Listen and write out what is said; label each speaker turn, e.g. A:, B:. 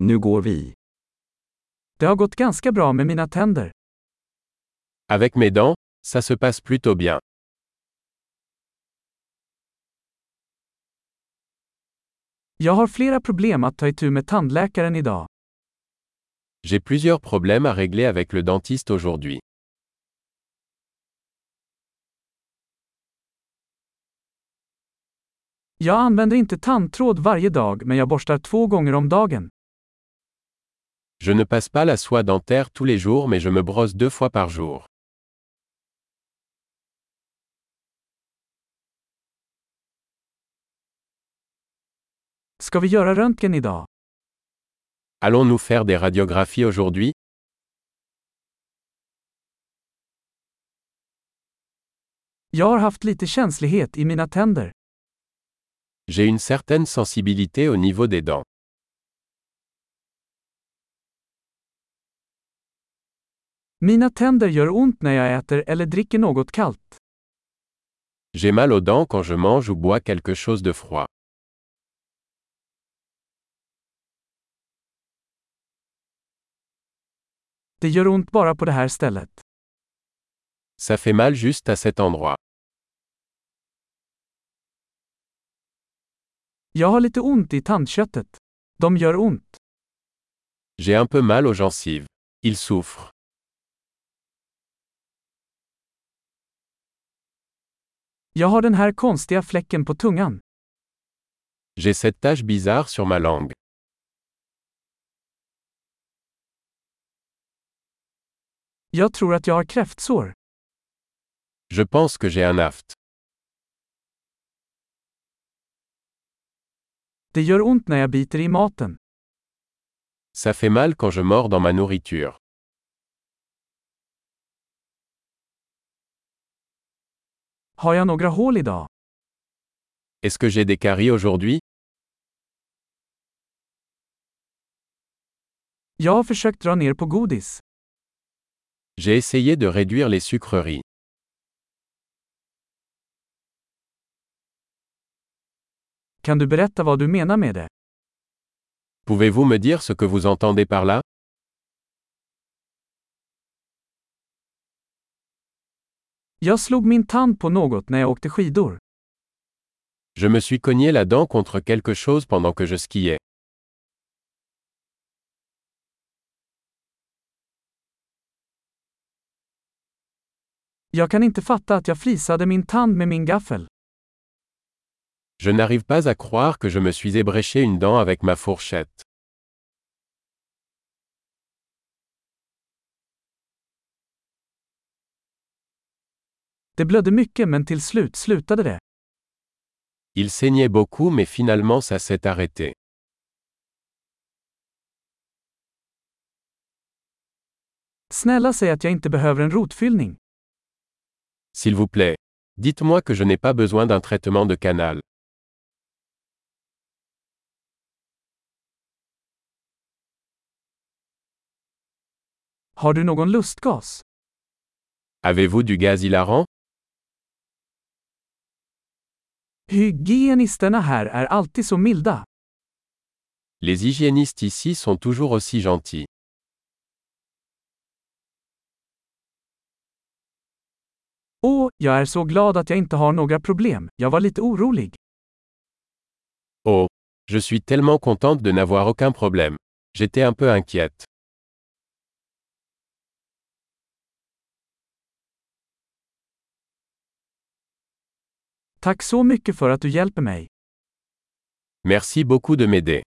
A: Nu går vi.
B: Det har gått ganska bra med mina tänder.
C: Avec mes dents, ça se passe plutôt bien.
B: Jag har flera problem att ta itu med tandläkaren idag.
C: J'ai plusieurs problèmes à régler avec le dentiste aujourd'hui.
B: Jag använder inte tandtråd varje dag men jag borstar två gånger om dagen.
C: Je ne passe pas la soie dentaire tous les jours mais je me brosse deux fois par jour.
B: Ska vi göra röntgen idag?
C: Allons-nous faire des radiographies aujourd'hui
B: Jag har haft lite känslighet i mina tänder.
C: J'ai une certaine sensibilité au niveau des dents.
B: Mina tänder gör ont när jag äter eller dricker något kallt.
C: J'ai mal aux dents quand je mange ou bois quelque chose de froid.
B: Det gör ont bara på det här stället.
C: Ça fait mal juste à cet endroit.
B: Jag har lite ont i tandköttet. De gör ont.
C: J'ai un peu mal aux gencives. Il souffre.
B: Jag har den här konstiga fläcken på tungan.
C: J'ai cette tache bizarre sur ma langue.
B: Jag tror att jag har kräftsår.
C: Je pense que j'ai un aft.
B: Det gör ont när jag biter i maten.
C: Ça fait mal quand je mords dans ma nourriture.
B: Har jag några hål idag?
C: Est-ce que j'ai des caries aujourd'hui
B: Jag har försökt dra ner på godis.
C: J'ai essayé de réduire les sucreries.
B: Kan du berätta vad du menar med det?
C: Pouvez-vous me dire ce que vous entendez par là
B: Jag slog min tand på något när jag åkte skidor.
C: Je me suis cogné la dent contre quelque chose pendant que je skiais.
B: Jag kan inte fatta att jag frisade min tand med min gaffel.
C: Je n'arrive pas à croire que je me suis ébréché une dent avec ma fourchette.
B: Det blödde mycket men till slut slutade det.
C: Il saignait beaucoup mais finalement ça s'est arrêté.
B: Snälla säg att jag inte behöver en rotfyllning.
C: S'il vous plaît. Dites-moi que je n'ai pas besoin d'un traitement de canal.
B: Har du någon lustgas?
C: Avez-vous du gaz hilarant
B: Hygienisterna här är alltid så milda.
C: Les hygiénistes ici sont toujours aussi gentils.
B: Åh, jag är så glad att jag inte har några problem. Jag var lite orolig.
C: Oh, je suis tellement contente de n'avoir aucun problème. J'étais un peu inquiète.
B: Tack så mycket för att du hjälper mig.
C: Merci beaucoup de m'aider.